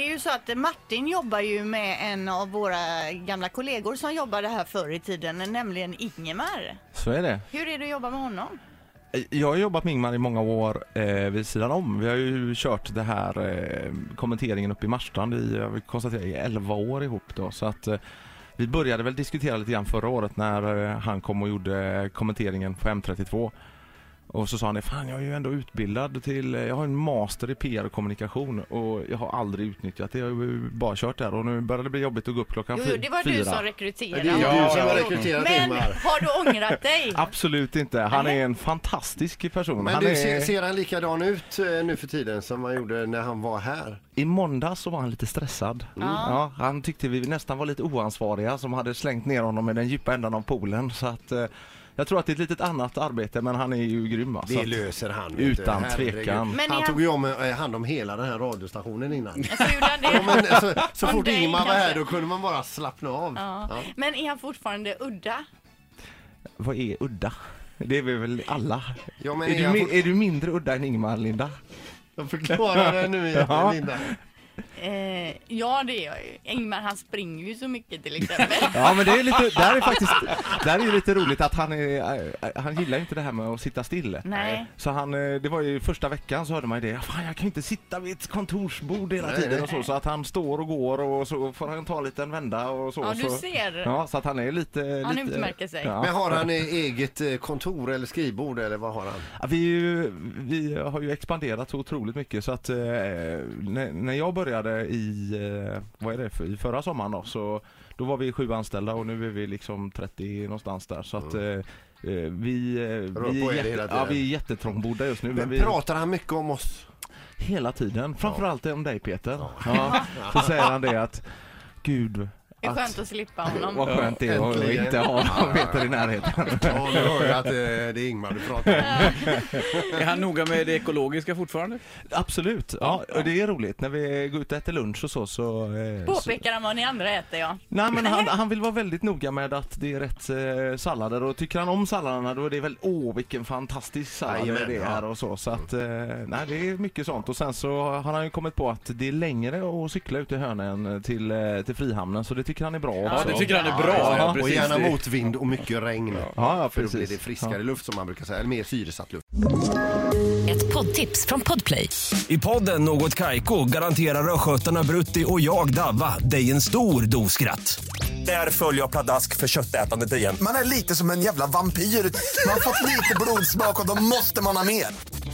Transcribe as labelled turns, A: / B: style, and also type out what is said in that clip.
A: ju så att Martin jobbar ju med en av våra gamla kollegor som jobbade här förr i tiden, nämligen Ingemar.
B: Så är det.
A: Hur är det att jobba med honom?
B: Eh, Jag har jobbat med Ingmar i många år eh, vid sidan om. Vi har ju kört det här eh, kommenteringen uppe i Marstrand i, jag vill konstatera, i 11 år ihop då. Så att eh, vi började väl diskutera lite grann förra året när eh, han kom och gjorde kommenteringen på M32. Och så sa han det, fan jag är ju ändå utbildad till, eh, jag har en master i PR och kommunikation och jag har aldrig utnyttjat det. Jag har ju bara kört där och nu börjar det bli jobbigt att gå upp klockan
A: Jo,
B: fy-
A: jo, det var
B: fyra.
A: du som rekryterade.
C: Ja, det är du som har
A: Jo,
C: rekryterat
A: Men
C: Ingmar.
A: har du ångrat dig?
B: Absolut inte. Han är en fantastisk person.
C: Men
B: han
C: du,
B: är...
C: ser, ser han likadan ut eh, nu för tiden som han gjorde när han var här?
B: I måndag så var han lite stressad. Ja, han tyckte vi nästan var lite oansvariga som hade slängt ner honom i den djupa ändan av poolen. Så att, eh, jag tror att det är ett litet annat arbete men han är ju grym. va, så
C: Det
B: att,
C: löser han. vet du.
B: Utan
C: Herregud.
B: tvekan.
A: Men
C: Han
A: är
C: tog ju om, eh, hand om hela den här radiostationen innan.
A: Så gjorde han det.
C: Ja, men, eh, så så
A: Om
C: fort
A: dig
C: Ingmar var här
A: kanske.
C: då kunde man bara slappna av.
A: Ja.
C: Ja.
A: Men är han fortfarande udda?
B: Vad är udda? Det är vi väl alla?
C: Ja, men
B: är,
C: är
B: du,
C: han
B: mi-
C: fort-
B: är du mindre udda än Ingmar, Linda?
C: Jag förklarar det nu
B: Ja.
C: igen, Linda.
A: Eh, ja, det är jag ju. Ingmar han springer ju så mycket till exempel.
B: Ja men det är lite, där är faktiskt, där är ju lite roligt att han, är, eh, han gillar ju inte det här med att sitta still.
A: Nej.
B: Så han, eh, det var ju första veckan så hörde man ju det. Fan jag kan ju inte sitta vid ett kontorsbord hela
C: Nej,
B: tiden
C: nej.
B: och så. Så att han står och går och så får han ta en liten vända och så.
A: Ja, du
B: så.
A: ser.
B: Ja, så att han är lite...
A: Han
B: lite,
A: utmärker sig.
B: Ja.
C: Men har han eh, eget eh, kontor eller skrivbord eller vad har han?
B: Ja, vi, är ju, vi har ju expanderat så otroligt mycket så att eh, när, när jag började i, eh, vad är det, för, i förra sommaren då, så då var vi sju anställda och nu är vi liksom 30 någonstans där så att eh, eh, vi, eh,
C: Mm. Rör
B: vi,
C: på
B: är
C: er
B: jätte,
C: hela
B: ja,
C: tiden.
B: vi är jättetrångbodda just nu. Men
C: Men
B: vi,
C: pratar han mycket om oss?
B: Hela tiden, framförallt om dig Peter. Ja. Så säger han det att Gud
A: Det är
B: att-
A: skönt att slippa honom.
B: vad skönt det är att
C: Äntligen.
B: inte ha Peter i närheten.
C: Ja, nu hör jag att eh, det är Ingmar du pratar om.
D: Är han noga med det ekologiska fortfarande?
B: Absolut, ja, och det är roligt. När vi går ut och äter lunch och så så... eh, så
A: Påpekar han vad ni andra äter ja.
B: nej men han, han vill vara väldigt noga med att det är rätt eh, sallader och tycker han om salladerna då är det väl åh vilken fantastisk sallad
C: Jajamän,
B: det är och så. Så att eh, nej det är mycket sånt och sen så har han ju kommit på att det är längre att cykla ut i hönön till, eh, till Frihamnen så det tycker han är bra
D: Ja,
B: också.
D: det tycker han är bra.
B: Ja,
D: Ja,
C: och
D: precis.
C: gärna
D: Det-
C: motvind och mycket regn.
B: Ja, ja,
C: För då blir det
B: precis.
C: friskare luft som man brukar säga, eller mer syresatt luft.
E: Ett poddtips från Podplay.
F: I podden Något Kaiko garanterar östgötarna Brutti och jag, Davva, dig en stor dos skratt. Där följer jag pladask för köttätandet igen.
G: Man är lite som en jävla vampyr. Man har fått lite blodsmak och då måste man ha mer.